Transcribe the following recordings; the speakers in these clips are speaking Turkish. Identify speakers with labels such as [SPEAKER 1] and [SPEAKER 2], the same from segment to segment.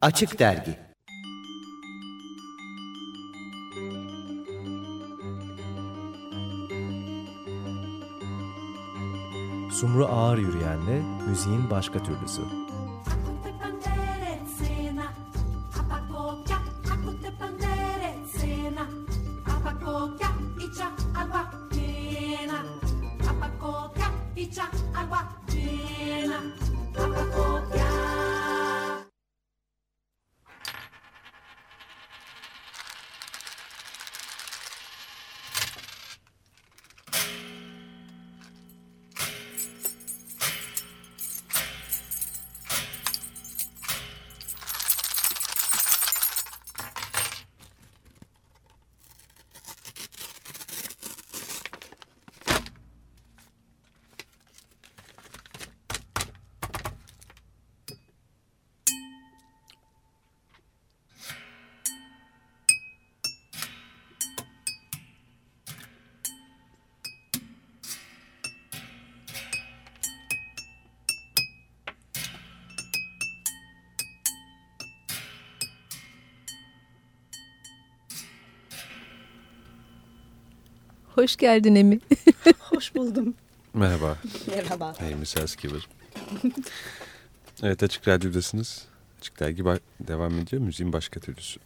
[SPEAKER 1] Açık Dergi
[SPEAKER 2] Sumru Ağır Yürüyen'le müziğin başka türlüsü.
[SPEAKER 3] Akute panderecena, apakokia, akute panderecena, apakokia, itcha, agua llena, apakokia, itcha, agua llena, apakokia.
[SPEAKER 4] Hoş geldin Emi.
[SPEAKER 5] Hoş buldum.
[SPEAKER 6] Merhaba,
[SPEAKER 5] Merhaba.
[SPEAKER 6] Amy Selskiver. evet, Açık Radyo'dasınız. Açık Dergi ba- devam ediyor. Müziğin başka türlüsü.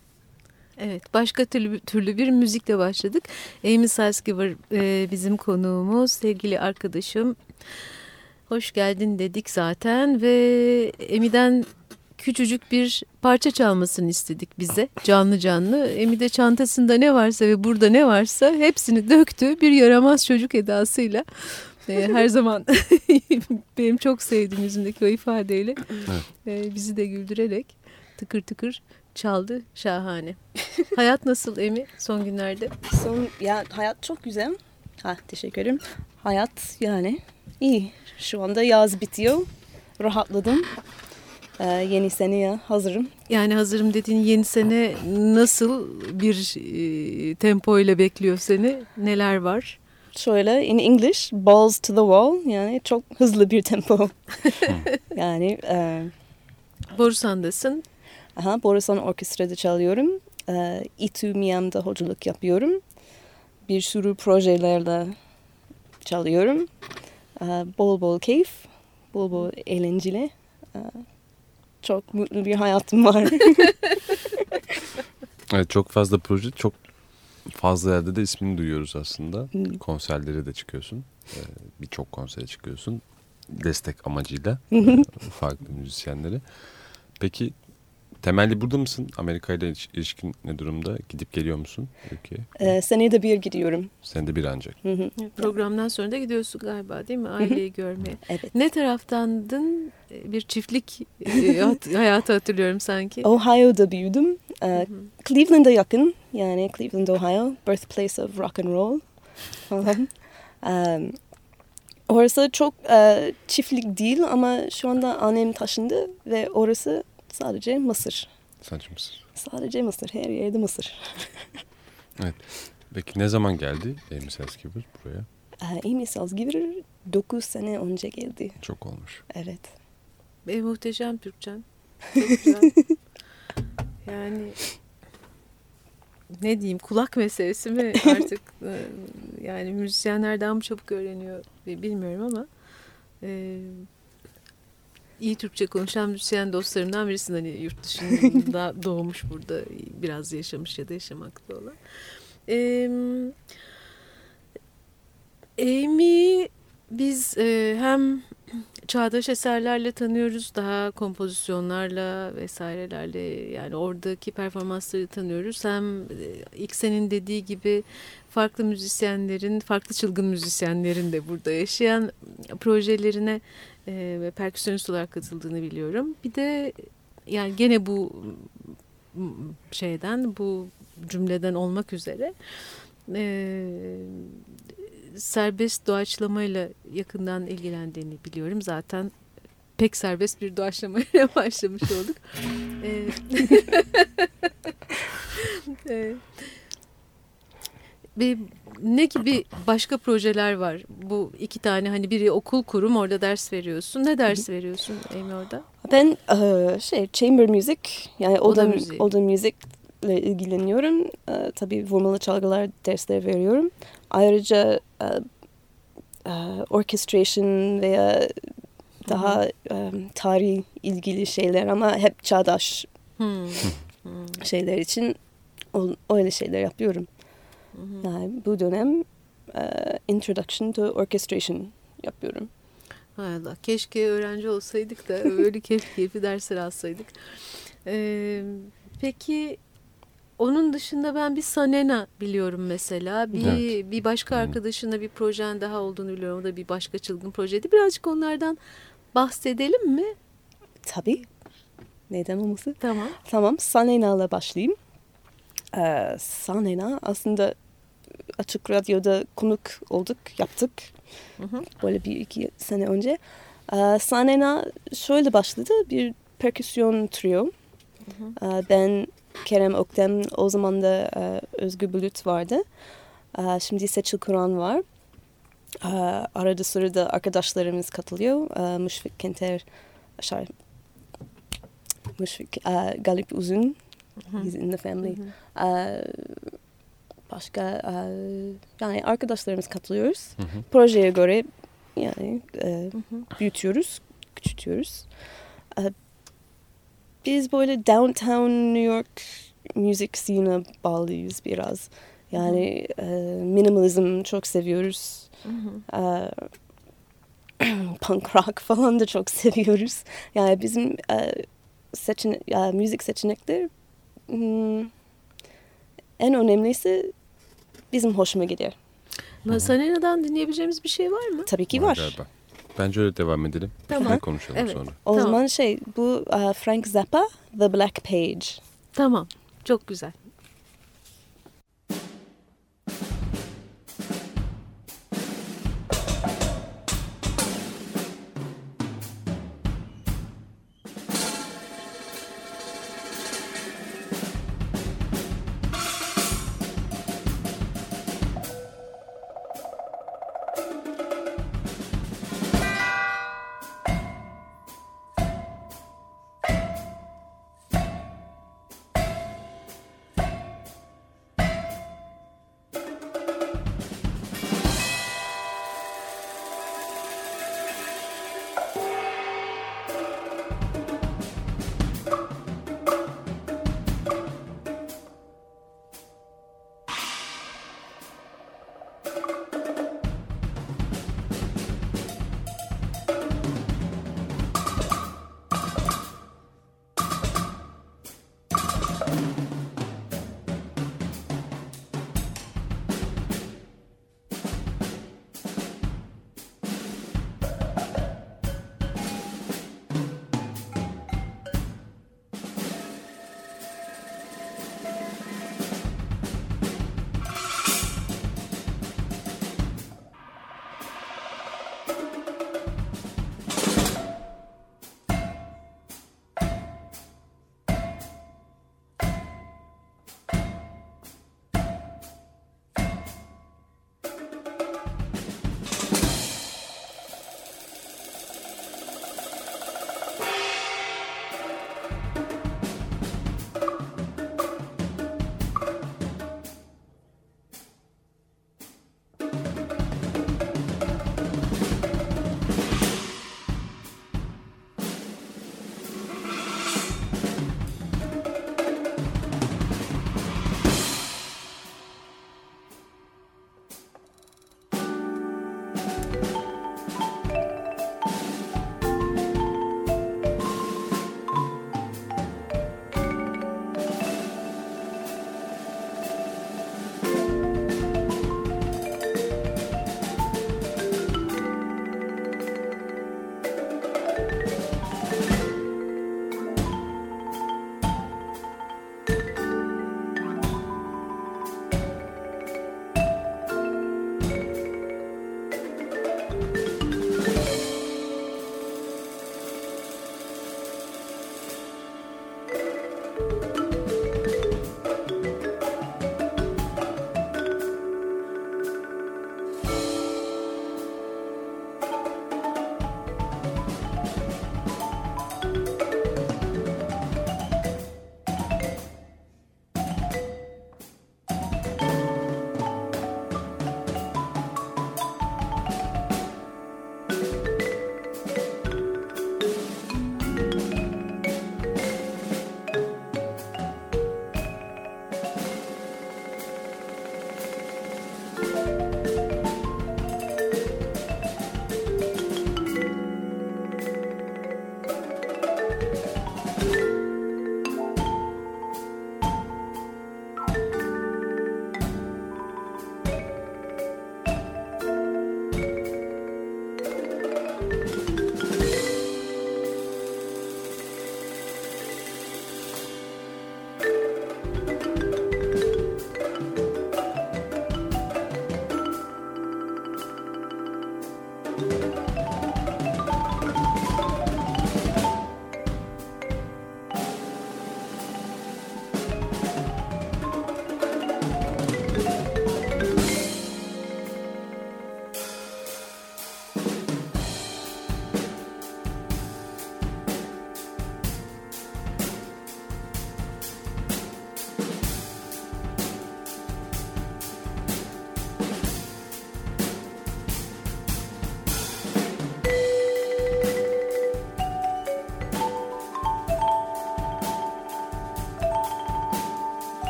[SPEAKER 4] Evet, başka türlü, türlü bir müzikle başladık. Amy Salzgiver e, bizim konuğumuz, sevgili arkadaşım. Hoş geldin dedik zaten ve Emi'den küçücük bir parça çalmasını istedik bize canlı canlı. Emi de çantasında ne varsa ve burada ne varsa hepsini döktü bir yaramaz çocuk edasıyla. E, her zaman benim çok sevdiğim yüzündeki o ifadeyle e, bizi de güldürerek tıkır tıkır çaldı şahane. Hayat nasıl Emi son günlerde?
[SPEAKER 5] Son, ya hayat çok güzel. Ha, teşekkür ederim. Hayat yani iyi. Şu anda yaz bitiyor. Rahatladım. Ee, yeni seneye hazırım.
[SPEAKER 4] Yani hazırım dediğin yeni sene nasıl bir e, tempo ile bekliyor seni? Neler var?
[SPEAKER 5] Şöyle in English, balls to the wall. Yani çok hızlı bir tempo. yani e,
[SPEAKER 4] Borusan'dasın.
[SPEAKER 5] aha, Borusan Orkestra'da çalıyorum. E, İTÜ Miami'de hocalık yapıyorum. Bir sürü projelerle çalıyorum. E, bol bol keyif, bol bol eğlenceli. E, çok mutlu bir hayatım var.
[SPEAKER 6] Evet, çok fazla proje, çok fazla yerde de ismini duyuyoruz aslında.
[SPEAKER 5] Hı.
[SPEAKER 6] Konserlere de çıkıyorsun. Ee, Birçok konsere çıkıyorsun. Destek amacıyla e, farklı müzisyenlere. Peki temelli burada mısın? Amerika ile iliş- ilişkin ne durumda? Gidip geliyor musun ülkeye?
[SPEAKER 5] e, seneye de bir gidiyorum.
[SPEAKER 6] Sen de bir ancak.
[SPEAKER 5] Hı hı.
[SPEAKER 4] Programdan sonra da gidiyorsun galiba değil mi? Aileyi görmeye.
[SPEAKER 5] evet.
[SPEAKER 4] Ne taraftandın? Bir çiftlik e, hat- hayatı hatırlıyorum sanki.
[SPEAKER 5] Ohio'da büyüdüm. E, Cleveland'a yakın. Yani Cleveland, Ohio. Birthplace of rock and roll. Falan. E, orası çok e, çiftlik değil ama şu anda annem taşındı ve orası sadece Mısır.
[SPEAKER 6] Sancı mısın?
[SPEAKER 5] Sadece Mısır. Her yerde Mısır.
[SPEAKER 6] Peki ne zaman geldi Amy Selskiver buraya?
[SPEAKER 5] E, Amy Salzgiver 9 sene önce geldi.
[SPEAKER 6] Çok olmuş.
[SPEAKER 5] Evet.
[SPEAKER 4] E, muhteşem Türkçen. Çok güzel. yani ne diyeyim kulak meselesi mi artık Ee, yani müzisyenler daha mı çabuk öğreniyor bi- bilmiyorum ama e, iyi Türkçe konuşan müzisyen dostlarımdan birisinden hani yurt dışında doğmuş burada biraz yaşamış ya da yaşamakta olan. Ee, Amy biz e, hem çağdaş eserlerle tanıyoruz daha kompozisyonlarla vesairelerle yani oradaki performansları tanıyoruz hem e, ilk senin dediği gibi farklı müzisyenlerin farklı çılgın müzisyenlerin de burada yaşayan projelerine e, ve perküsyonist olarak katıldığını biliyorum bir de yani gene bu m, m, şeyden bu cümleden olmak üzere e, serbest doğaçlamayla yakından ilgilendiğini biliyorum. Zaten pek serbest bir doğaçlamayla başlamış olduk. Ee, Ee, bir- ne gibi başka projeler var? Bu iki tane hani biri okul kurum orada ders veriyorsun. Ne ders veriyorsun Emi orada?
[SPEAKER 5] Ben eee, şey chamber müzik yani
[SPEAKER 4] Oda
[SPEAKER 5] oda,
[SPEAKER 4] müziği.
[SPEAKER 5] oda müzikle ilgileniyorum. Eee, tabii vurmalı çalgılar dersleri veriyorum. Ayrıca eee, eee, orchestration veya daha eee, tarih ilgili şeyler ama hep çağdaş
[SPEAKER 4] Hmm.
[SPEAKER 5] şeyler için o- öyle şeyler yapıyorum. Yani bu dönem eee, Introduction to Orchestration yapıyorum.
[SPEAKER 4] Hay Allah. Keşke öğrenci olsaydık da öyle keyif keyfi dersler alsaydık. Ee, peki onun dışında ben bir Sanena biliyorum mesela. Bir bir başka
[SPEAKER 6] Hı.
[SPEAKER 4] arkadaşına bir projen daha olduğunu biliyorum. O da bir başka çılgın projeydi. Birazcık onlardan bahsedelim mi?
[SPEAKER 5] Tabii. Neden olmasın?
[SPEAKER 4] Tamam.
[SPEAKER 5] Tamam, Sanena'la başlayayım. Ee, Sanena aslında Açık Radyo'da konuk olduk, yaptık. Böyle bir iki sene önce. Ee, Sanena şöyle başladı, bir perküsyon trio. Ee, ben, Kerem Oktem, o zaman da e, Özgü Bulut vardı. Ee, şimdi Seçil Kur'an var. Ee, arada sırada arkadaşlarımız katılıyor. Ee, Müşfik Kenter, şey, Müşfik, e, Galip Uzun, he's in the family. E, başka, e, yani arkadaşlarımız katılıyoruz. Projeye göre yani e, büyütüyoruz, küçültüyoruz. E, biz böyle downtown New York müzik scene'e bağlıyız biraz. Yani e, minimalizm çok seviyoruz. E, punk rock falan da çok seviyoruz. Yani bizim e, seçene ya müzik seçenekleri hmm, en önemlisi bizim hoşuma gidiyor.
[SPEAKER 4] Sanenadan dinleyebileceğimiz bir şey var mı?
[SPEAKER 5] Tabii ki
[SPEAKER 6] Var
[SPEAKER 5] var.
[SPEAKER 6] galiba. Bence öyle devam edelim.
[SPEAKER 4] Tamam.
[SPEAKER 6] Üstüne konuşalım
[SPEAKER 4] Evet.
[SPEAKER 6] sonra.
[SPEAKER 5] O
[SPEAKER 4] Tamam.
[SPEAKER 5] zaman şey bu e, Frank Zappa The Black Page.
[SPEAKER 4] Tamam. Çok güzel.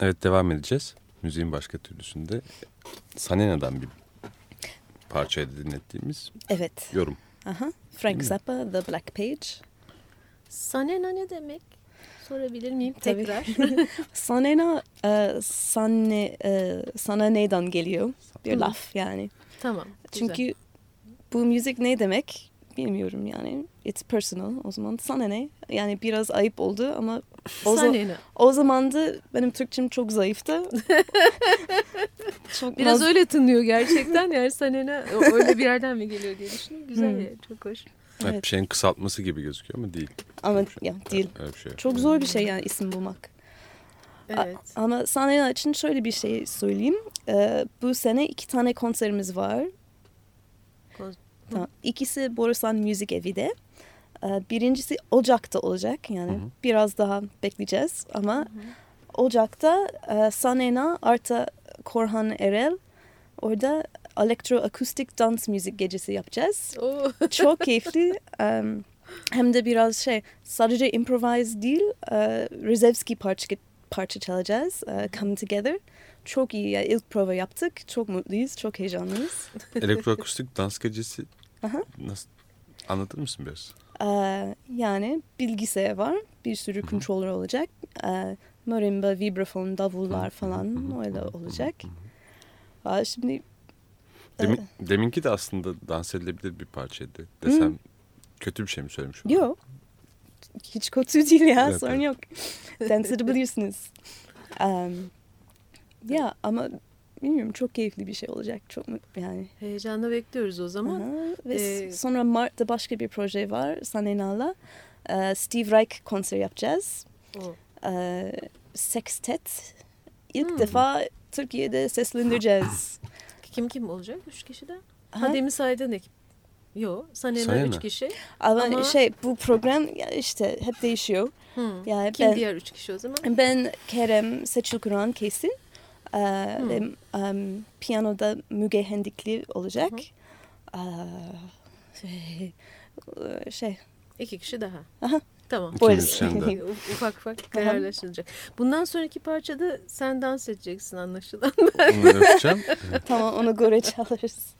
[SPEAKER 6] Evet devam edeceğiz. Müziğin başka türlüsünde Sanena'dan bir parçaydı dinlettiğimiz
[SPEAKER 5] Evet.
[SPEAKER 6] yorum.
[SPEAKER 5] Aha. Frank Zappa, The Black Page.
[SPEAKER 4] Sanena ne demek? Sorabilir miyim
[SPEAKER 5] Tabii.
[SPEAKER 4] tekrar?
[SPEAKER 5] Sanena, e, sanne, e, sana neyden geliyor? Bir
[SPEAKER 4] Hı.
[SPEAKER 5] laf yani.
[SPEAKER 4] tamam. güzel.
[SPEAKER 5] Çünkü bu müzik ne demek bilmiyorum yani. It's personal o zaman. Sana ne? Yani biraz ayıp oldu ama o, za-
[SPEAKER 4] Sanena.
[SPEAKER 5] o zaman da benim Türkçem çok zayıftı. çok
[SPEAKER 4] Biraz
[SPEAKER 5] naz-
[SPEAKER 4] öyle tınıyor gerçekten yani Sanena o- öyle bir yerden mi geliyor diye düşündüm. Güzel
[SPEAKER 5] Hmm.
[SPEAKER 4] yani, çok hoş.
[SPEAKER 6] Evet.
[SPEAKER 5] Evet.
[SPEAKER 6] bir şeyin kısaltması gibi gözüküyor ama değil.
[SPEAKER 5] Ama ya, değil.
[SPEAKER 6] Öyle bir şey.
[SPEAKER 5] Çok zor bir şey yani isim bulmak. A-
[SPEAKER 4] Evet.
[SPEAKER 5] Ama sahneler için şöyle bir şey söyleyeyim. Ee, bu sene iki tane konserimiz var.
[SPEAKER 4] Kon-
[SPEAKER 5] Tamam. İkisi Borusan Müzik Evi'de. Ee, birincisi Ocak'ta olacak. Yani
[SPEAKER 6] Hı hı.
[SPEAKER 5] biraz daha bekleyeceğiz ama Ocak'ta e, Sanena Arta Korhan Erel orada elektroakustik dans müzik gecesi yapacağız.
[SPEAKER 4] Oo.
[SPEAKER 5] Çok keyifli. Em, hem de biraz şey sadece improvise değil e, Rzewski parça, parça çalacağız. e, Come Together. Çok iyi. Yani ilk prova yaptık. Çok mutluyuz. Çok heyecanlıyız.
[SPEAKER 6] Elektroakustik dans gecesi
[SPEAKER 5] Aha.
[SPEAKER 6] nasıl anlatır mısın biraz?
[SPEAKER 5] Ee, yani bilgisayar var. Bir sürü controller olacak. Ee, marimba, vibrafon, davullar falan öyle olacak. Aa, şimdi
[SPEAKER 6] Demin, deminki de aslında dans edilebilir bir parçaydı desem kötü bir şey mi söylemiş oldum?
[SPEAKER 5] yok. Hiç kötü değil ya.
[SPEAKER 6] Evet,
[SPEAKER 5] sorun
[SPEAKER 6] evet.
[SPEAKER 5] yok. Dans edebilirsiniz. Um, ya ama bilmiyorum çok keyifli bir şey olacak. Çok mut- yani.
[SPEAKER 4] Heyecanla bekliyoruz o zaman.
[SPEAKER 5] Aha, Ve s-
[SPEAKER 4] e-
[SPEAKER 5] sonra Mart'ta başka bir proje var Sanena'la. Ee, Steve Reich konser yapacağız.
[SPEAKER 4] O.
[SPEAKER 5] e, sextet ilk
[SPEAKER 4] Hmm.
[SPEAKER 5] defa Türkiye'de seslendireceğiz.
[SPEAKER 4] Kim kim olacak? Üç kişiden.
[SPEAKER 5] Ha?
[SPEAKER 4] Ha demin saydığın ekip. Yo, Sanena
[SPEAKER 6] Sanena.
[SPEAKER 4] üç kişi.
[SPEAKER 5] Ama,
[SPEAKER 4] Ama-
[SPEAKER 5] şey bu program ya işte hep değişiyor.
[SPEAKER 4] Hmm.
[SPEAKER 5] Yani
[SPEAKER 4] Kim
[SPEAKER 5] ben,
[SPEAKER 4] diğer üç kişi o zaman?
[SPEAKER 5] ben Kerem Seçil Kur'an kesin. E, ve, em, piyanoda Müge Hendikli olacak. E, şey, e, şey
[SPEAKER 4] İki kişi daha.
[SPEAKER 5] Aha.
[SPEAKER 4] Tamam.
[SPEAKER 6] İki
[SPEAKER 5] Böyle.
[SPEAKER 6] müzisyen de.
[SPEAKER 4] U- ufak ufak kararlaşılacak. Bundan sonraki parçada sen dans edeceksin anlaşılan.
[SPEAKER 6] Onları öpeceğim.
[SPEAKER 5] tamam ona göre çalarız.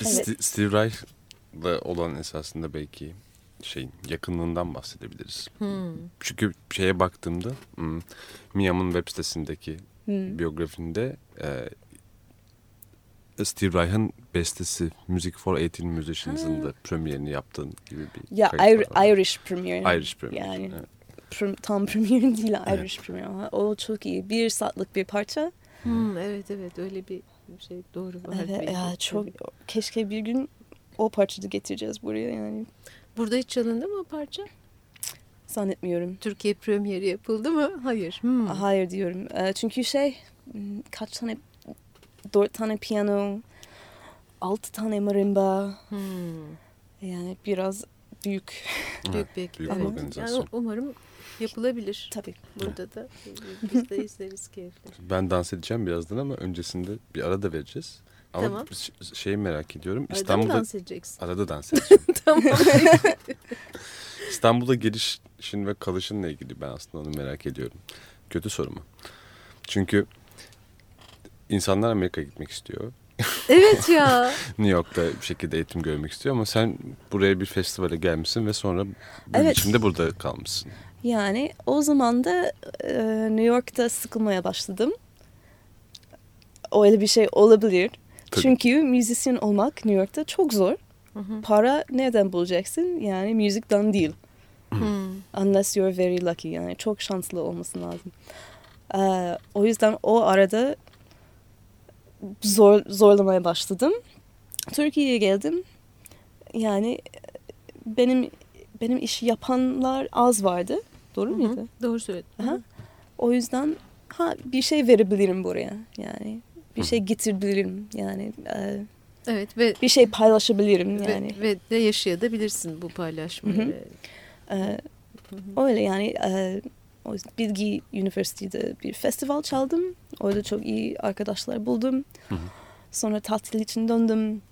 [SPEAKER 6] Biz
[SPEAKER 5] Evet.
[SPEAKER 6] Sti- Steve Reich'la olan esasında belki şeyin yakınlığından bahsedebiliriz. Çünkü şeye baktığımda hmm, Miam'ın web sitesindeki
[SPEAKER 5] Hmm.
[SPEAKER 6] biyografinde e, Steve Reich'ın bestesi Music for 18 Musicians'ın da premierini yaptığın gibi bir
[SPEAKER 5] Ya
[SPEAKER 6] kayıt var
[SPEAKER 5] Ir-
[SPEAKER 6] orada.
[SPEAKER 5] Irish premiere.
[SPEAKER 6] Irish premier.
[SPEAKER 5] Yani.
[SPEAKER 6] evet.
[SPEAKER 5] Prim- tam premiere değil Irish premiere. ama O çok iyi. Bir saatlik bir parça.
[SPEAKER 4] Hmm, evet evet öyle bir şey doğru. var.
[SPEAKER 5] Evet
[SPEAKER 4] Belki.
[SPEAKER 5] ya çok keşke bir gün o parçayı getireceğiz buraya yani
[SPEAKER 4] Burada hiç çalındı mı o parça?
[SPEAKER 5] zannetmiyorum.
[SPEAKER 4] Türkiye premieri yapıldı mı? Hayır. Hmm.
[SPEAKER 5] Hayır diyorum. Ee, Çünkü şey m, kaç tane dört tane piyano, altı tane marimba
[SPEAKER 4] Hmm.
[SPEAKER 5] yani biraz büyük
[SPEAKER 4] Büyük bir ekip.
[SPEAKER 6] büyük
[SPEAKER 4] evet.
[SPEAKER 6] organizasyon.
[SPEAKER 4] Yani umarım yapılabilir.
[SPEAKER 5] tabii.
[SPEAKER 4] Burada da e, biz de izleriz keyifle.
[SPEAKER 6] Ben dans edeceğim birazdan ama öncesinde bir ara da vereceğiz. Ama
[SPEAKER 4] Tamam.
[SPEAKER 6] ş- şeyi merak ediyorum.
[SPEAKER 4] Arada mı
[SPEAKER 6] İstanbul'da
[SPEAKER 4] dans edeceksin?
[SPEAKER 6] arada dans edeceğim.
[SPEAKER 4] tamam.
[SPEAKER 6] İstanbul'da gelişin ve kalışınla ilgili ben aslında onu merak ediyorum. Kötü soru mu? Çünkü insanlar Amerika'ya gitmek istiyor.
[SPEAKER 4] evet ya.
[SPEAKER 6] New York'ta bir şekilde eğitim görmek istiyor ama sen buraya bir festivale gelmişsin ve sonra bir
[SPEAKER 5] Evet.
[SPEAKER 6] biçimde burada kalmışsın.
[SPEAKER 5] Yani o zaman da e, New York'ta sıkılmaya başladım. Öyle bir şey olabilir.
[SPEAKER 6] Tabii.
[SPEAKER 5] Çünkü müzisyen olmak New York'ta çok zor. Para nereden bulacaksın? Yani müzikten değil.
[SPEAKER 4] Hmm.
[SPEAKER 5] Unless you're very lucky yani çok şanslı olmasın lazım. Ee, o yüzden o arada zor zorlamaya başladım. Türkiye'ye geldim. Yani benim benim işi yapanlar az vardı. Doğru
[SPEAKER 4] Hı hı.
[SPEAKER 5] muydu?
[SPEAKER 4] Doğru söyledin.
[SPEAKER 5] Aha. O yüzden ha bir şey verebilirim buraya yani. Bir şey getirebilirim yani. Ee,
[SPEAKER 4] Evet ve
[SPEAKER 5] bir şey paylaşabilirim
[SPEAKER 4] Ve-
[SPEAKER 5] yani.
[SPEAKER 4] Ve, de yaşayabilirsin bu paylaşmayı.
[SPEAKER 5] Hı hı.
[SPEAKER 4] ve-
[SPEAKER 5] Ee, öyle yani e, o yüzden Bilgi Üniversitesi'de bir festival çaldım. Orada çok iyi arkadaşlar buldum.
[SPEAKER 6] Hı hı.
[SPEAKER 5] Sonra tatil için döndüm.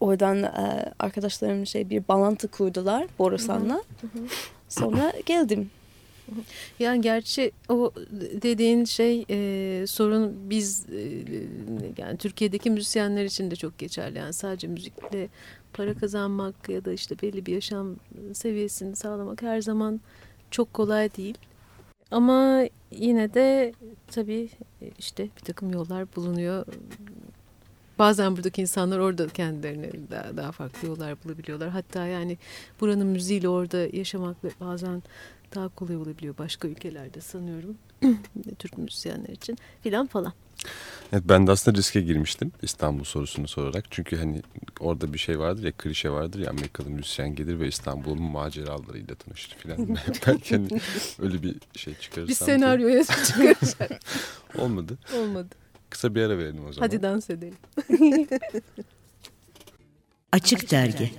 [SPEAKER 5] Oradan e, arkadaşlarım şey bir bağlantı kurdular Borusan'la. Sonra geldim.
[SPEAKER 4] Yani gerçi o dediğin şey e, sorun biz e, yani Türkiye'deki müzisyenler için de çok geçerli. Yani sadece müzikle para kazanmak ya da işte belli bir yaşam seviyesini sağlamak her zaman çok kolay değil. Ama yine de tabii e, işte bir takım yollar bulunuyor. Bazen buradaki insanlar orada kendilerine daha, daha farklı yollar bulabiliyorlar. Hatta yani buranın müziğiyle orada yaşamak bazen daha kolay olabiliyor başka ülkelerde sanıyorum. Türk müzisyenler için filan falan.
[SPEAKER 6] Evet, ben de aslında riske girmiştim İstanbul sorusunu sorarak. Çünkü hani orada bir şey vardır ya klişe vardır ya Amerikalı müzisyen gelir ve İstanbul'un maceralarıyla tanışır filan. Belki hani öyle bir şey çıkarırsam.
[SPEAKER 4] Bir
[SPEAKER 6] ki-
[SPEAKER 4] senaryo yazıp çıkaracak.
[SPEAKER 6] Olmadı.
[SPEAKER 4] şey Olmadı.
[SPEAKER 6] Kısa bir ara verelim o zaman.
[SPEAKER 4] Hadi dans edelim.
[SPEAKER 1] Açık Dergi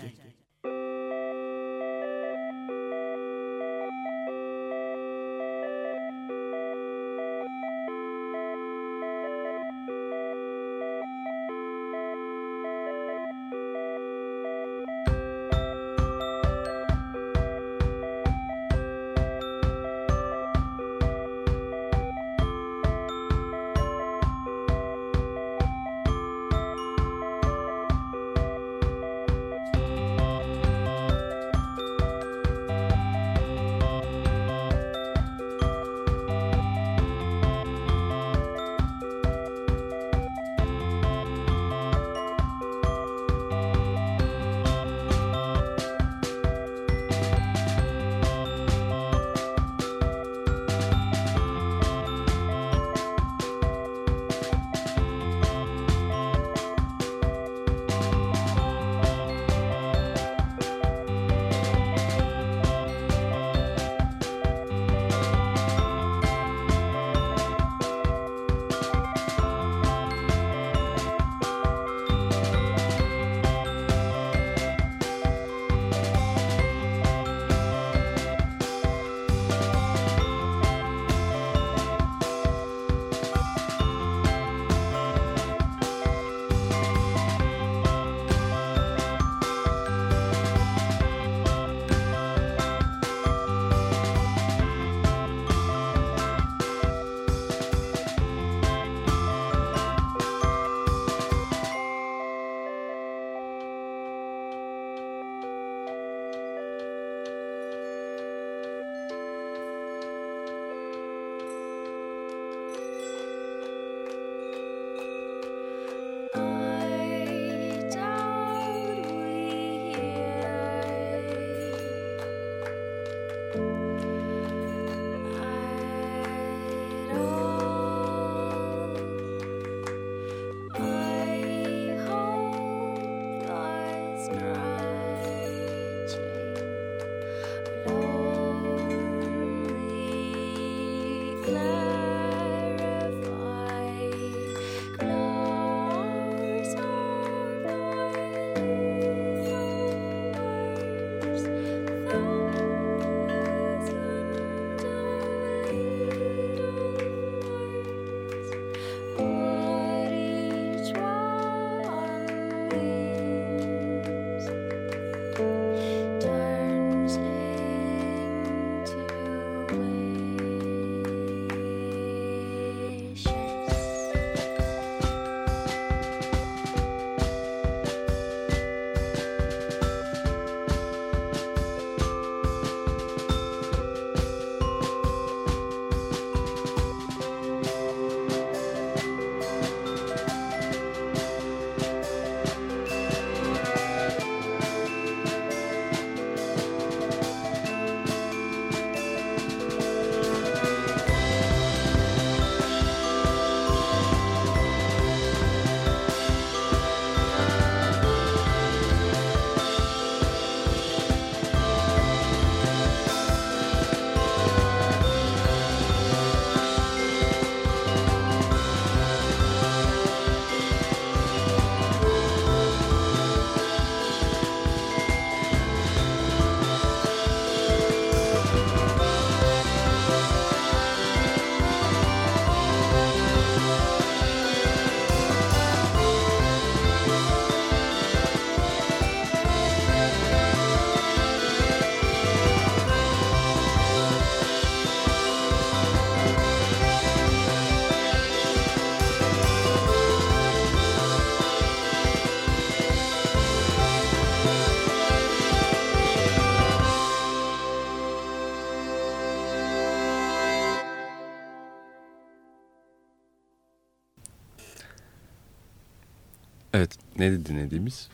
[SPEAKER 6] Evet. Ne dinlediğimiz?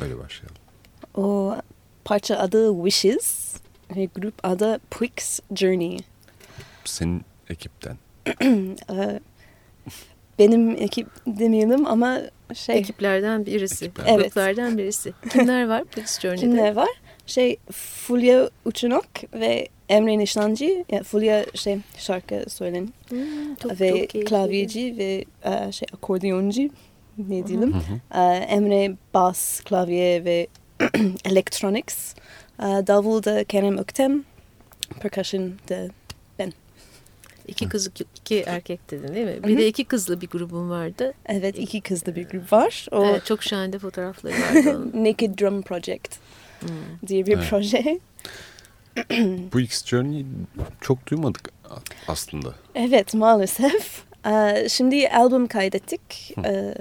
[SPEAKER 6] Öyle başlayalım.
[SPEAKER 5] O parça adı Wishes ve grup adı Pwix Journey.
[SPEAKER 6] Senin ekipten.
[SPEAKER 5] Ee, benim ekip demeyelim ama şey
[SPEAKER 4] Ekiplerden birisi.
[SPEAKER 6] Ekipler.
[SPEAKER 5] Evet.
[SPEAKER 4] Gruplardan birisi. Kimler var Prince Journey'de?
[SPEAKER 5] kimler var? Şey Fulya Uçunok ve Emre Nişancı. Yani Fulya şey şarkı söyleyen
[SPEAKER 4] Hmm, çok,
[SPEAKER 5] ve
[SPEAKER 4] çok iyi.
[SPEAKER 5] klavyeci ve e, şey akordeoncu ne diyelim.
[SPEAKER 6] Hı hı.
[SPEAKER 5] Ee, Emre bas, klavye ve electronics. Ee, Davul da Kerem Öktem. Percussion da
[SPEAKER 4] İki kız, iki- iki erkek dedin değil mi? Bir
[SPEAKER 5] Hı hı.
[SPEAKER 4] de iki kızlı bir grubum vardı.
[SPEAKER 5] evet iki kızlı bir grup var. O
[SPEAKER 4] Evet, çok şahane fotoğrafları vardı onun.
[SPEAKER 5] Naked Drum Project
[SPEAKER 4] Hmm.
[SPEAKER 5] diye bir
[SPEAKER 6] Evet.
[SPEAKER 5] proje.
[SPEAKER 6] Bu X Journey'i çok duymadık a- aslında.
[SPEAKER 5] Evet maalesef. Ee, Şimdi albüm kaydettik. Ee,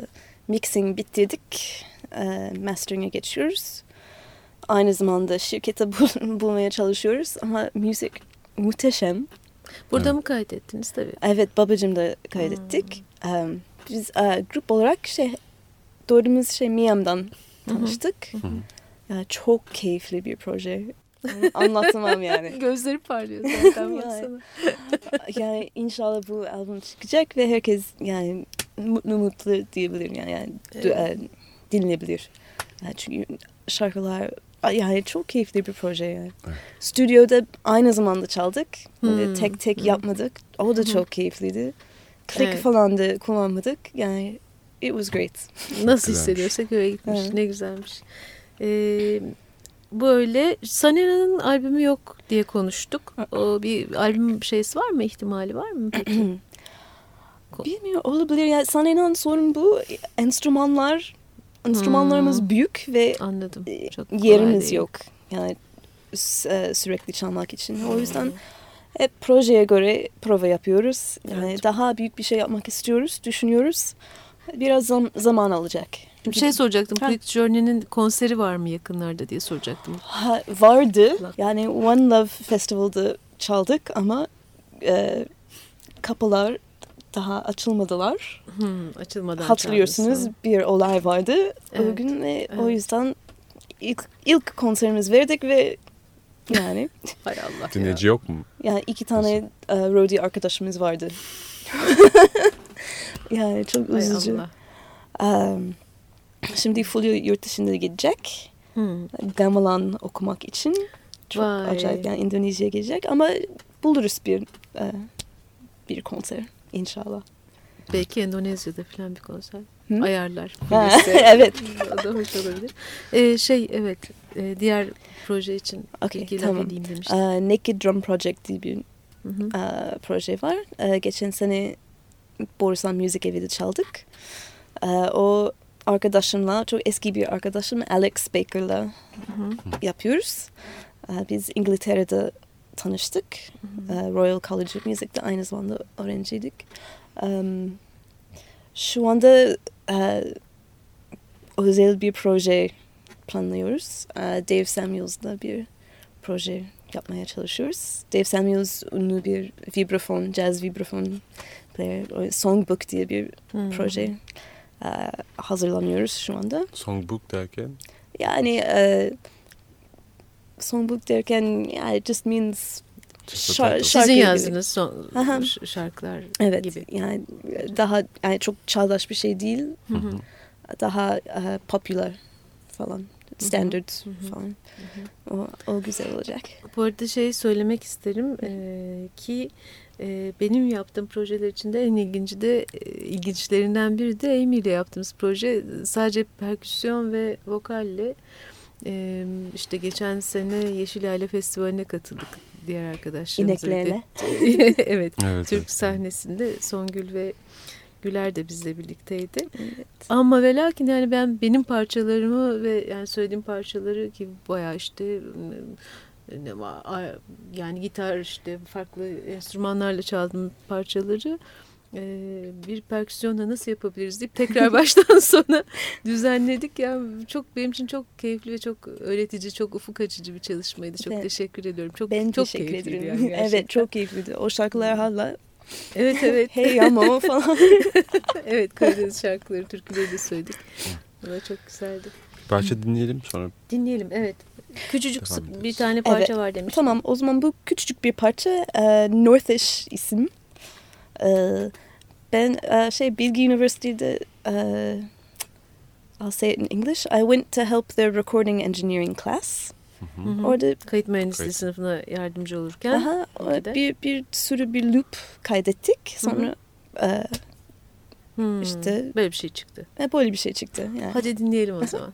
[SPEAKER 5] Mixing bitirdik. Ee, Mastering'e geçiyoruz. Aynı zamanda şirkete bul- bulmaya çalışıyoruz ama müzik muhteşem.
[SPEAKER 4] Burada
[SPEAKER 6] Evet.
[SPEAKER 4] mı kaydettiniz tabii?
[SPEAKER 5] Evet babacım da kaydettik. Em, biz e, grup olarak şey doğduğumuz şey Miami'den tanıştık. Ya çok keyifli bir proje. Anlatamam yani.
[SPEAKER 4] Gözleri parlıyor zaten
[SPEAKER 5] Yani.
[SPEAKER 4] baksana.
[SPEAKER 5] yani inşallah bu albüm çıkacak ve herkes yani mutlu mutlu diyebilir yani, yani du- e, dinleyebilir. Yani çünkü şarkılar yani çok keyifli bir proje yani.
[SPEAKER 6] Evet.
[SPEAKER 5] Stüdyoda aynı zamanda çaldık. Böyle
[SPEAKER 4] Hmm.
[SPEAKER 5] tek tek yapmadık. O da çok keyifliydi. Click
[SPEAKER 4] Evet.
[SPEAKER 5] falan da kullanmadık. Yani it was great.
[SPEAKER 4] Nasıl
[SPEAKER 6] güzelmiş.
[SPEAKER 4] hissediyorsak öyle gitmiş.
[SPEAKER 5] Evet.
[SPEAKER 4] Ne güzelmiş. Ee, böyle Sanera'nın albümü yok diye konuştuk. O bir albüm şeysi var mı? ihtimali var mı? Peki.
[SPEAKER 5] Bilmiyorum olabilir. Yani sana inan sorun bu. Enstrümanlar, enstrümanlarımız büyük ve
[SPEAKER 4] Anladım.
[SPEAKER 5] e,
[SPEAKER 4] Çok kolay
[SPEAKER 5] yerimiz
[SPEAKER 4] değil.
[SPEAKER 5] yok. Yani s- e, sürekli çalmak için. O yüzden hep projeye göre prova yapıyoruz. Yani
[SPEAKER 4] Evet.
[SPEAKER 5] daha büyük bir şey yapmak istiyoruz, düşünüyoruz. Biraz zam- zaman alacak.
[SPEAKER 4] Bir şey soracaktım.
[SPEAKER 5] Ha.
[SPEAKER 4] Quick Journey'nin konseri var mı yakınlarda diye soracaktım.
[SPEAKER 5] Ha, vardı. Yani One Love Festival'da çaldık ama e, kapılar daha açılmadılar.
[SPEAKER 4] Hmm, açılmadan
[SPEAKER 5] Hatırlıyorsunuz
[SPEAKER 4] çalmışsın.
[SPEAKER 5] bir olay vardı o
[SPEAKER 4] Evet,
[SPEAKER 5] gün ve o
[SPEAKER 4] evet.
[SPEAKER 5] yüzden ilk, ilk konserimiz verdik ve yani
[SPEAKER 4] Hay Allah ya.
[SPEAKER 6] Dinleyici yok mu?
[SPEAKER 5] yani iki tane e, roadie arkadaşımız vardı. yani çok
[SPEAKER 4] Hay
[SPEAKER 5] üzücü.
[SPEAKER 4] Allah.
[SPEAKER 5] Um, şimdi Fulya yurt dışında gidecek.
[SPEAKER 4] Hmm.
[SPEAKER 5] Gamelan okumak için. Çok
[SPEAKER 4] Vay.
[SPEAKER 5] acayip yani Endonezya'ya gelecek ama buluruz bir e, bir konser inşallah.
[SPEAKER 4] Belki Endonezya'da falan bir konser.
[SPEAKER 5] Hı?
[SPEAKER 4] Ayarlar.
[SPEAKER 5] Ha,
[SPEAKER 4] Birisi. Hmm,
[SPEAKER 5] evet.
[SPEAKER 4] o da hoş olabilir. Ee, şey evet e, diğer proje için
[SPEAKER 5] Okey,
[SPEAKER 4] bilgiler
[SPEAKER 5] tamam.
[SPEAKER 4] vereyim demiştim.
[SPEAKER 5] E, Naked Drum Project diye bir
[SPEAKER 4] Hı hı.
[SPEAKER 5] e, proje var. E, geçen sene Borusan Müzik Evi'de çaldık. E, o arkadaşımla, çok eski bir arkadaşım Alex Baker'la yapıyoruz. E, biz İngiltere'de tanıştık. E, Royal College of Music'te aynı zamanda öğrenciydik. Em, şu anda e, özel bir proje planlıyoruz. E, Dave Samuels'la bir proje yapmaya çalışıyoruz. Dave Samuels ünlü bir vibrafon, jazz vibrafon player, o Songbook diye bir
[SPEAKER 4] Hmm.
[SPEAKER 5] proje e, hazırlanıyoruz şu anda.
[SPEAKER 6] Songbook derken
[SPEAKER 5] Yani e, Songbook derken yani it just means
[SPEAKER 6] Just
[SPEAKER 5] şar-
[SPEAKER 6] a title.
[SPEAKER 5] şarkı
[SPEAKER 4] Sizin
[SPEAKER 5] gibi.
[SPEAKER 4] yazdığınız son
[SPEAKER 5] Aha.
[SPEAKER 4] ş- şarkılar
[SPEAKER 5] Evet.
[SPEAKER 4] gibi.
[SPEAKER 5] Yani daha yani çok çağdaş bir şey değil.
[SPEAKER 4] Hı hı.
[SPEAKER 5] Daha e, popüler falan. Standard falan. O, o güzel olacak.
[SPEAKER 4] Bu arada şey söylemek isterim e, ki e, benim yaptığım projeler içinde en ilginci de e, ilginçlerinden biri de Amy ile yaptığımız proje sadece perküsyon ve vokalle e, işte geçen sene Yeşil Aile Festivali'ne katıldık diğer arkadaşlarımızla.
[SPEAKER 5] İneklerle.
[SPEAKER 4] birlikte. evet.
[SPEAKER 6] Evet,
[SPEAKER 4] Türk
[SPEAKER 6] evet.
[SPEAKER 4] sahnesinde Songül ve Güler de bizle birlikteydi. Ama ve lakin yani ben benim parçalarımı ve yani söylediğim parçaları ki bayağı işte ım, ne var, a- yani gitar işte farklı enstrümanlarla çaldığım parçaları e, bir perküsyonla nasıl yapabiliriz deyip tekrar baştan sona düzenledik. Yani çok benim için çok keyifli ve çok öğretici, çok ufuk açıcı bir çalışmaydı. Çok
[SPEAKER 5] Ben-
[SPEAKER 4] teşekkür ediyorum. Çok
[SPEAKER 5] Ben
[SPEAKER 4] çok
[SPEAKER 5] teşekkür
[SPEAKER 4] keyifliydi
[SPEAKER 5] ederim.
[SPEAKER 4] yani gerçekten.
[SPEAKER 5] evet çok keyifliydi. O şarkılar hala
[SPEAKER 4] Evet evet.
[SPEAKER 5] hey ama falan.
[SPEAKER 4] Evet Karadeniz şarkıları, türküleri de söyledik. Bu da çok güzeldi.
[SPEAKER 6] Parça dinleyelim sonra
[SPEAKER 4] Dinleyelim evet. Küçücük
[SPEAKER 6] Devam
[SPEAKER 4] sık- bir
[SPEAKER 6] ederiz.
[SPEAKER 4] tane parça
[SPEAKER 5] Evet.
[SPEAKER 4] var demiş.
[SPEAKER 5] Tamam o zaman bu küçücük bir parça e, Northish isim. E, ben e, şey Bilgi Üniversitesi'de e, I'll say it in English. I went to help their recording engineering class.
[SPEAKER 4] Hı hı.
[SPEAKER 5] Orada
[SPEAKER 4] Kayıt mühendisliği
[SPEAKER 6] Kayıt.
[SPEAKER 4] sınıfına yardımcı olurken
[SPEAKER 5] Aha, o-
[SPEAKER 4] Orada.
[SPEAKER 5] bir, bir sürü bir loop kaydettik. Sonra e,
[SPEAKER 4] hmm,
[SPEAKER 5] işte-
[SPEAKER 4] böyle bir şey çıktı.
[SPEAKER 5] e, böyle bir şey çıktı. Yani.
[SPEAKER 4] Hadi dinleyelim o zaman.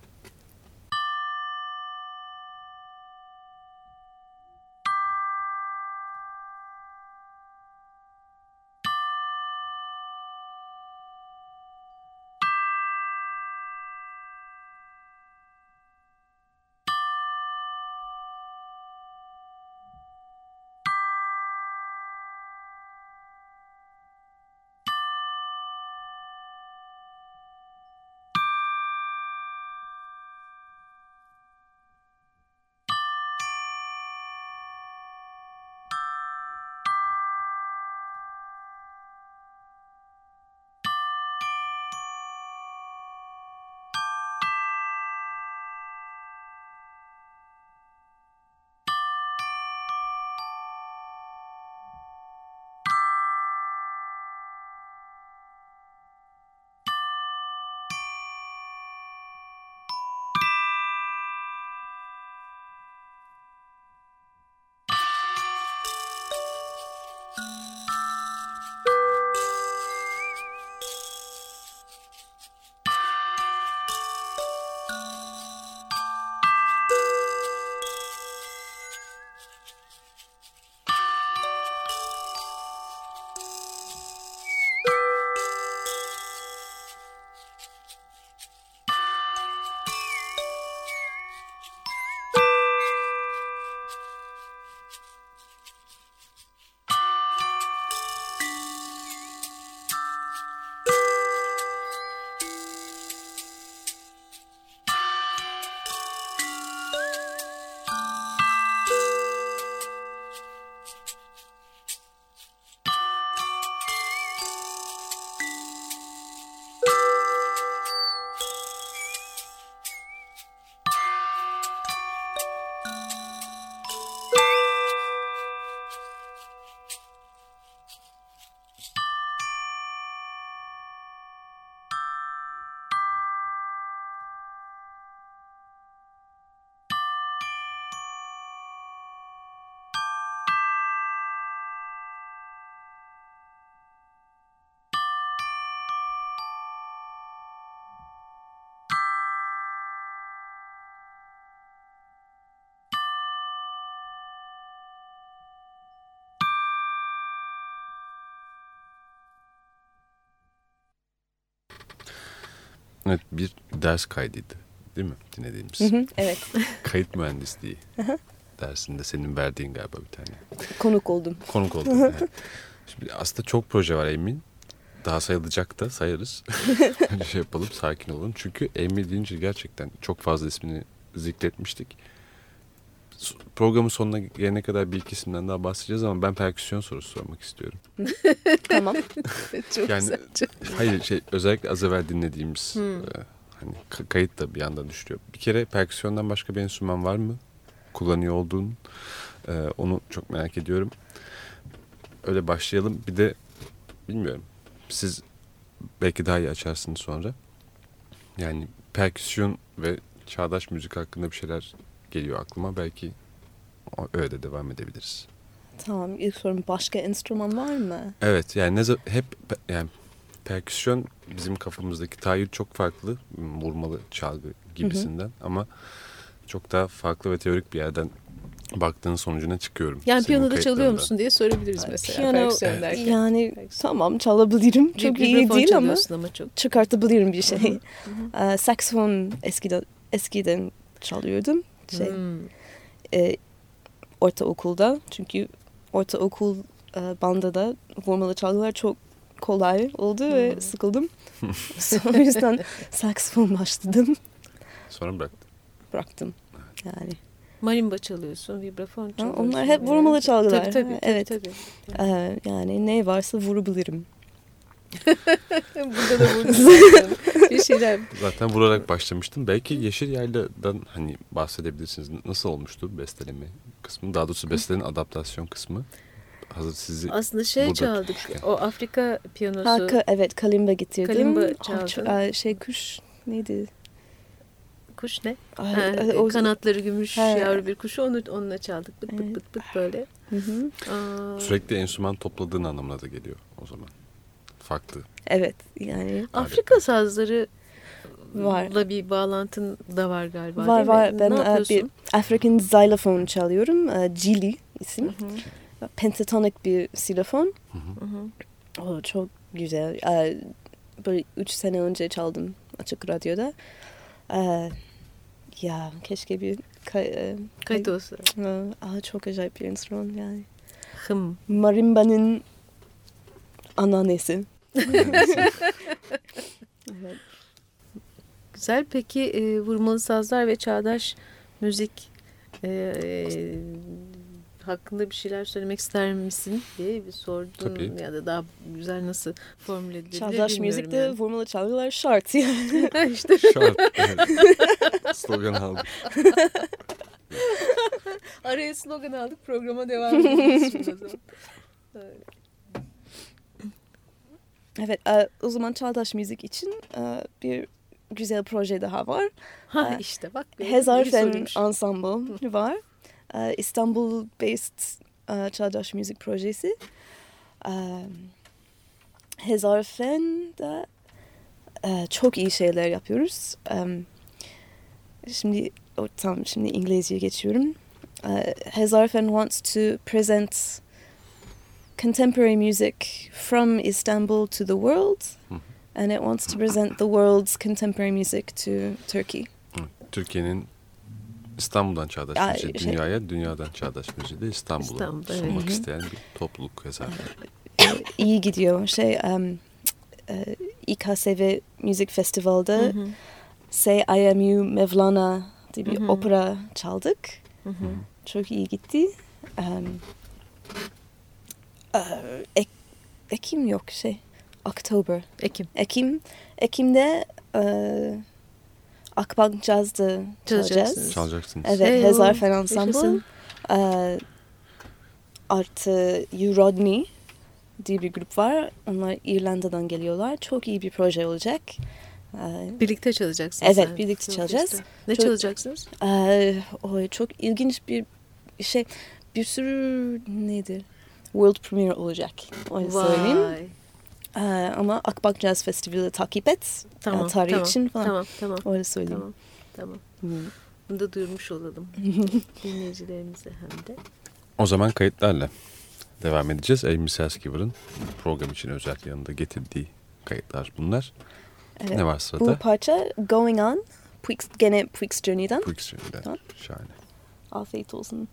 [SPEAKER 6] evet, bir ders kaydıydı değil mi dinlediğimiz?
[SPEAKER 5] Hı hı, evet
[SPEAKER 6] Kayıt mühendisliği dersinde senin verdiğin galiba bir tane.
[SPEAKER 5] konuk oldum.
[SPEAKER 6] Konuk oldum. evet. Şimdi aslında çok proje var Emin. Daha sayılacak da sayarız. Önce şey yapalım sakin olalım. Çünkü Emin deyince gerçekten çok fazla ismini zikretmiştik. S- Programın sonuna gelene kadar bir iki isimden daha bahsedeceğiz ama ben perküsyon sorusu sormak istiyorum.
[SPEAKER 5] Tamam.
[SPEAKER 4] Çok
[SPEAKER 6] Yani-
[SPEAKER 4] güzel. Hmm.
[SPEAKER 6] Hayır şey özellikle az evvel dinlediğimiz e, hani ka- kayıt da bir yandan düşüyor. Bir kere perküsyondan başka bir enstrüman var mı? Kullanıyor olduğun. E, onu çok merak ediyorum. Öyle başlayalım. Bir de bilmiyorum. Siz belki daha iyi açarsınız sonra. Yani perküsyon ve çağdaş müzik hakkında bir şeyler geliyor aklıma. Belki o- öyle devam edebiliriz.
[SPEAKER 5] Tamam ilk sorum başka enstrüman var mı?
[SPEAKER 6] Evet yani ne za- hep pe- yani perküsyon bizim kafamızdaki tayyür çok farklı m, vurmalı çalgı gibisinden ama çok daha farklı ve teorik bir yerden baktığın sonucuna çıkıyorum.
[SPEAKER 4] Yani
[SPEAKER 6] Senin
[SPEAKER 4] piyanoda çalıyor
[SPEAKER 6] kayıtlarından.
[SPEAKER 4] musun diye sorabiliriz mesela. perküsyon derken.
[SPEAKER 5] yani tamam çalabilirim. Çok iyi değil ama
[SPEAKER 4] çalıyorsun ama çok.
[SPEAKER 5] çıkartabilirim bir şey. Ee, saksafon eskiden eskiden çalıyordum. Şey,
[SPEAKER 4] Hmm.
[SPEAKER 5] e, ortaokulda. Çünkü ortaokul e, bandada vurmalı çalgılar çok kolay oldu ve sıkıldım. o yüzden saksafon başladım.
[SPEAKER 6] Sonra bıraktım.
[SPEAKER 5] Bıraktım. Yani.
[SPEAKER 4] Marimba çalıyorsun, vibrafon çalıyorsun.
[SPEAKER 5] onlar hep vurmalı çalgılar.
[SPEAKER 4] Tabii tabii.
[SPEAKER 5] Evet.
[SPEAKER 4] tabii, tabii.
[SPEAKER 5] e, yani ne varsa vurabilirim.
[SPEAKER 4] Burada da vurdum. bir şeyler.
[SPEAKER 6] Zaten vurarak başlamıştım. Belki Yeşil Yayla'dan hani bahsedebilirsiniz. Nasıl olmuştu besteleme kısmı? Daha doğrusu bestelerin adaptasyon kısmı. Hazır sizi
[SPEAKER 4] Aslında şey
[SPEAKER 6] Burada
[SPEAKER 4] çaldık.
[SPEAKER 6] konuşurken.
[SPEAKER 4] O Afrika piyanosu.
[SPEAKER 5] Ha, ka- evet kalimba getirdim.
[SPEAKER 4] Kalimba
[SPEAKER 5] Ah,
[SPEAKER 4] çaldın.
[SPEAKER 5] çok- ah, şey kuş neydi?
[SPEAKER 4] Kuş ne?
[SPEAKER 5] Ay,
[SPEAKER 4] Ha, e,
[SPEAKER 5] ay, o-
[SPEAKER 4] kanatları gümüş
[SPEAKER 5] He.
[SPEAKER 4] yavru bir kuşu onu onunla çaldık. Bıt bıt bıt bıt böyle.
[SPEAKER 5] Hı hı.
[SPEAKER 4] Aa,
[SPEAKER 6] sürekli enstrüman topladığın anlamına da geliyor o zaman. Farklı.
[SPEAKER 5] Evet yani
[SPEAKER 4] Afrika sazları
[SPEAKER 5] var.
[SPEAKER 4] La bir bağlantın da var galiba.
[SPEAKER 5] Var
[SPEAKER 4] değil
[SPEAKER 5] var.
[SPEAKER 4] Mi?
[SPEAKER 5] Ben
[SPEAKER 4] ne
[SPEAKER 5] e,
[SPEAKER 4] yapıyorsun?
[SPEAKER 5] bir African xylophone çalıyorum. E, Cili isim. Pentatonic bir silofon. O çok güzel. E, Böyle üç sene önce çaldım açık radyoda. E, Ya keşke bir kay, e,
[SPEAKER 4] Kayıt olsa.
[SPEAKER 5] e, aa, çok acayip bir enstrüman yani.
[SPEAKER 4] Hım.
[SPEAKER 5] Marimba'nın ananesi. Evet.
[SPEAKER 4] Güzel. Peki e, vurmalı sazlar ve çağdaş müzik e, e, hakkında bir şeyler söylemek ister misin diye bir sordun
[SPEAKER 6] Tabii.
[SPEAKER 4] ya da daha güzel nasıl formüle edilebilir
[SPEAKER 5] Çağdaş
[SPEAKER 4] bilmiyorum
[SPEAKER 5] müzikte
[SPEAKER 4] yani.
[SPEAKER 5] vurmalı çalgılar şart. yani.
[SPEAKER 4] işte
[SPEAKER 6] Şart. Slogan aldım.
[SPEAKER 4] araya slogan aldık programa devam ediyoruz şimdi o zaman. Evet.
[SPEAKER 5] evet e, o zaman çağdaş müzik için e, bir güzel proje daha var.
[SPEAKER 4] Ha
[SPEAKER 5] Ha,
[SPEAKER 4] işte bak. gördün mü? İyi
[SPEAKER 5] Hezarfen
[SPEAKER 4] soruymuş.
[SPEAKER 5] Ensemble var. Ee, İstanbul-based e, çağdaş müzik projesi. Um, Ee, Hezarfen'de e, uh, çok iyi şeyler yapıyoruz. Ee, Şimdi o, tam şimdi İngilizceye geçiyorum. Uh, Ee, Hezarfen wants to present contemporary music from Istanbul to the world.
[SPEAKER 6] Hı hı.
[SPEAKER 5] And it wants to present the world's contemporary music to Turkey.
[SPEAKER 6] Türkiye'nin İstanbul'dan çağdaş
[SPEAKER 5] Ay,
[SPEAKER 6] müziği
[SPEAKER 5] şey-
[SPEAKER 6] dünyaya, dünyadan çağdaş müziği de İstanbul'a
[SPEAKER 4] İstanbul'da, evet.
[SPEAKER 6] sunmak
[SPEAKER 5] Hı hı.
[SPEAKER 6] isteyen bir topluluk yazarlar.
[SPEAKER 5] Ee, iyi gidiyor. Şey em, e, İKSV Müzik Festival'de
[SPEAKER 4] Hı hı,
[SPEAKER 5] SAMU Mevlana diye bir
[SPEAKER 4] Hı hı.
[SPEAKER 5] opera çaldık.
[SPEAKER 4] hı hı.
[SPEAKER 5] Çok iyi gitti. Em, e, Ek- Ekim yok şey. October.
[SPEAKER 4] Ekim.
[SPEAKER 5] Ekim. Ekim'de e, Akbank Jazz'da
[SPEAKER 4] Çalacaksınız.
[SPEAKER 5] çalacağız.
[SPEAKER 6] Çalacaksınız.
[SPEAKER 5] Evet,
[SPEAKER 4] Hey,
[SPEAKER 5] Hezar
[SPEAKER 4] Şey o,
[SPEAKER 5] Fen Ensemble.
[SPEAKER 4] yaşasın.
[SPEAKER 5] Ee, artı You Rodney diye bir grup var. Onlar İrlanda'dan geliyorlar. Çok iyi bir proje olacak. Ee,
[SPEAKER 4] Birlikte çalacaksınız.
[SPEAKER 5] Evet,
[SPEAKER 4] yani.
[SPEAKER 5] birlikte
[SPEAKER 4] Çok
[SPEAKER 5] çalacağız.
[SPEAKER 4] güzel. Ne
[SPEAKER 5] Çok-
[SPEAKER 4] çalacaksınız?
[SPEAKER 5] ee, oy, çok ilginç bir şey. Bir sürü nedir? World Premiere olacak. Öyle söyleyeyim.
[SPEAKER 4] Vay.
[SPEAKER 5] Ee, ama Akbank Jazz Festivali takip et.
[SPEAKER 4] Tamam,
[SPEAKER 5] Yani tarihi
[SPEAKER 4] tamam,
[SPEAKER 5] için falan.
[SPEAKER 4] Tamam, tamam,
[SPEAKER 5] Öyle söyleyeyim.
[SPEAKER 4] tamam, tamam.
[SPEAKER 5] Hı.
[SPEAKER 4] Bunu da duyurmuş olalım dinleyicilerimize hem de.
[SPEAKER 6] O zaman kayıtlarla devam edeceğiz. Amy Selskiver'ın program için özel yanında getirdiği kayıtlar bunlar.
[SPEAKER 5] Evet.
[SPEAKER 6] Ne var
[SPEAKER 5] Bu
[SPEAKER 6] sırada?
[SPEAKER 5] parça Going On. Puig's, gene Puig's Journey'den.
[SPEAKER 6] Bu ikisinden.
[SPEAKER 5] Tamam.
[SPEAKER 6] Şahane.
[SPEAKER 5] Afiyet olsun.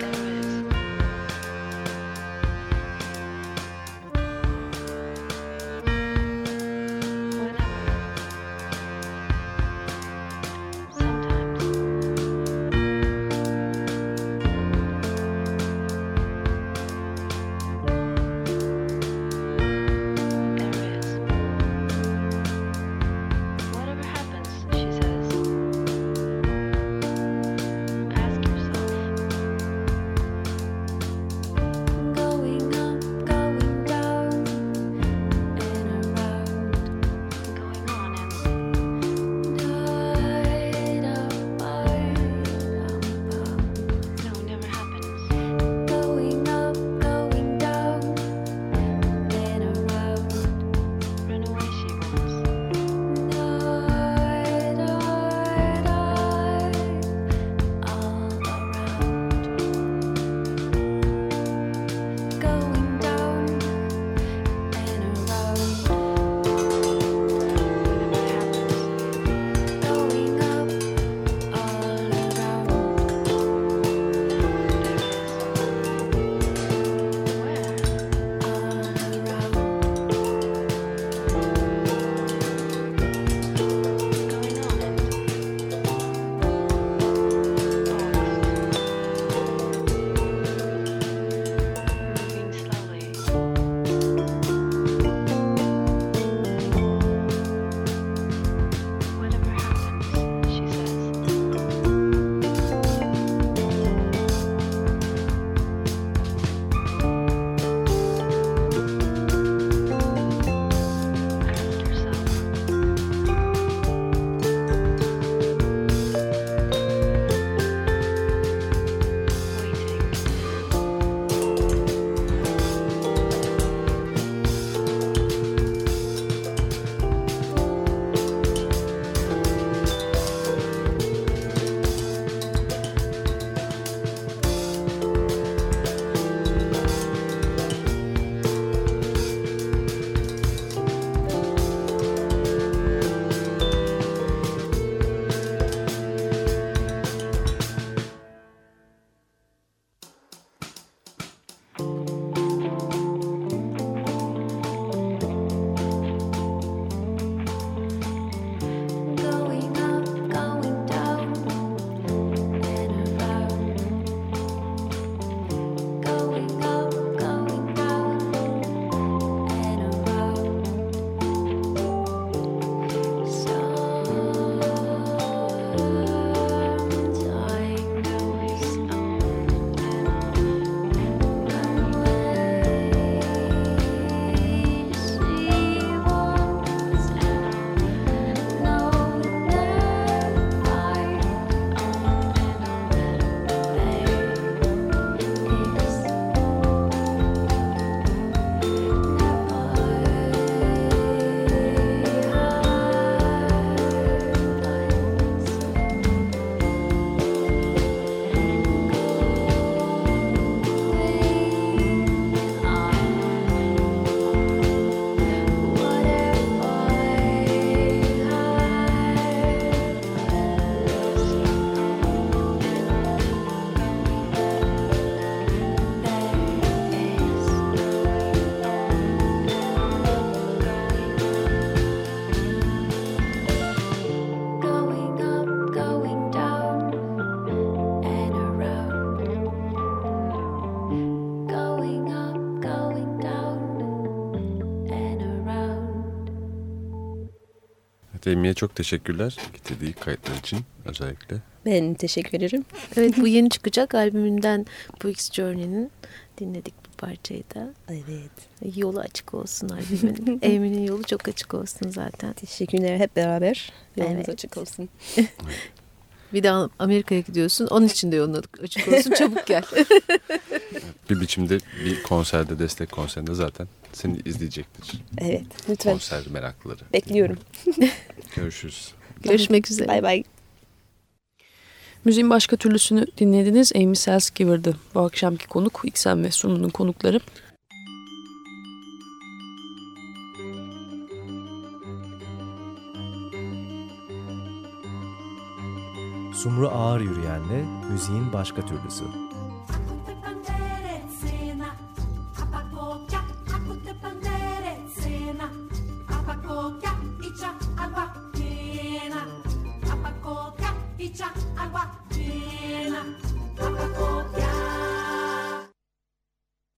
[SPEAKER 7] Thank
[SPEAKER 6] Evet Emi'ye çok teşekkürler getirdiği kayıtlar için özellikle.
[SPEAKER 5] Ben teşekkür ederim.
[SPEAKER 4] Evet bu yeni çıkacak albümünden bu X Journey'nin dinledik bu parçayı da.
[SPEAKER 5] Evet.
[SPEAKER 4] Yolu açık olsun albümün. Emin'in yolu çok açık olsun zaten.
[SPEAKER 5] Teşekkürler hep beraber. Yolunuz
[SPEAKER 4] Evet.
[SPEAKER 5] açık olsun.
[SPEAKER 4] Bir de Amerika'ya gidiyorsun. Onun için de yolun açık olsun. Çabuk gel.
[SPEAKER 6] Bir biçimde bir konserde destek konserinde zaten seni izleyecektir.
[SPEAKER 5] Evet. Lütfen.
[SPEAKER 6] Konser meraklıları.
[SPEAKER 5] Bekliyorum.
[SPEAKER 6] Görüşürüz.
[SPEAKER 4] Görüşmek üzere.
[SPEAKER 5] Bay bay.
[SPEAKER 7] Müziğin başka türlüsünü dinlediniz. Amy Selskiver'dı bu akşamki konuk. İksen ve Sunu'nun konukları.
[SPEAKER 2] Sumru Ağır Yürüyen'le Müziğin Başka Türlüsü.
[SPEAKER 3] Akute panderecina, apakokya, akute panderecina, apakokya, icha agua llena, apakokya, icha agua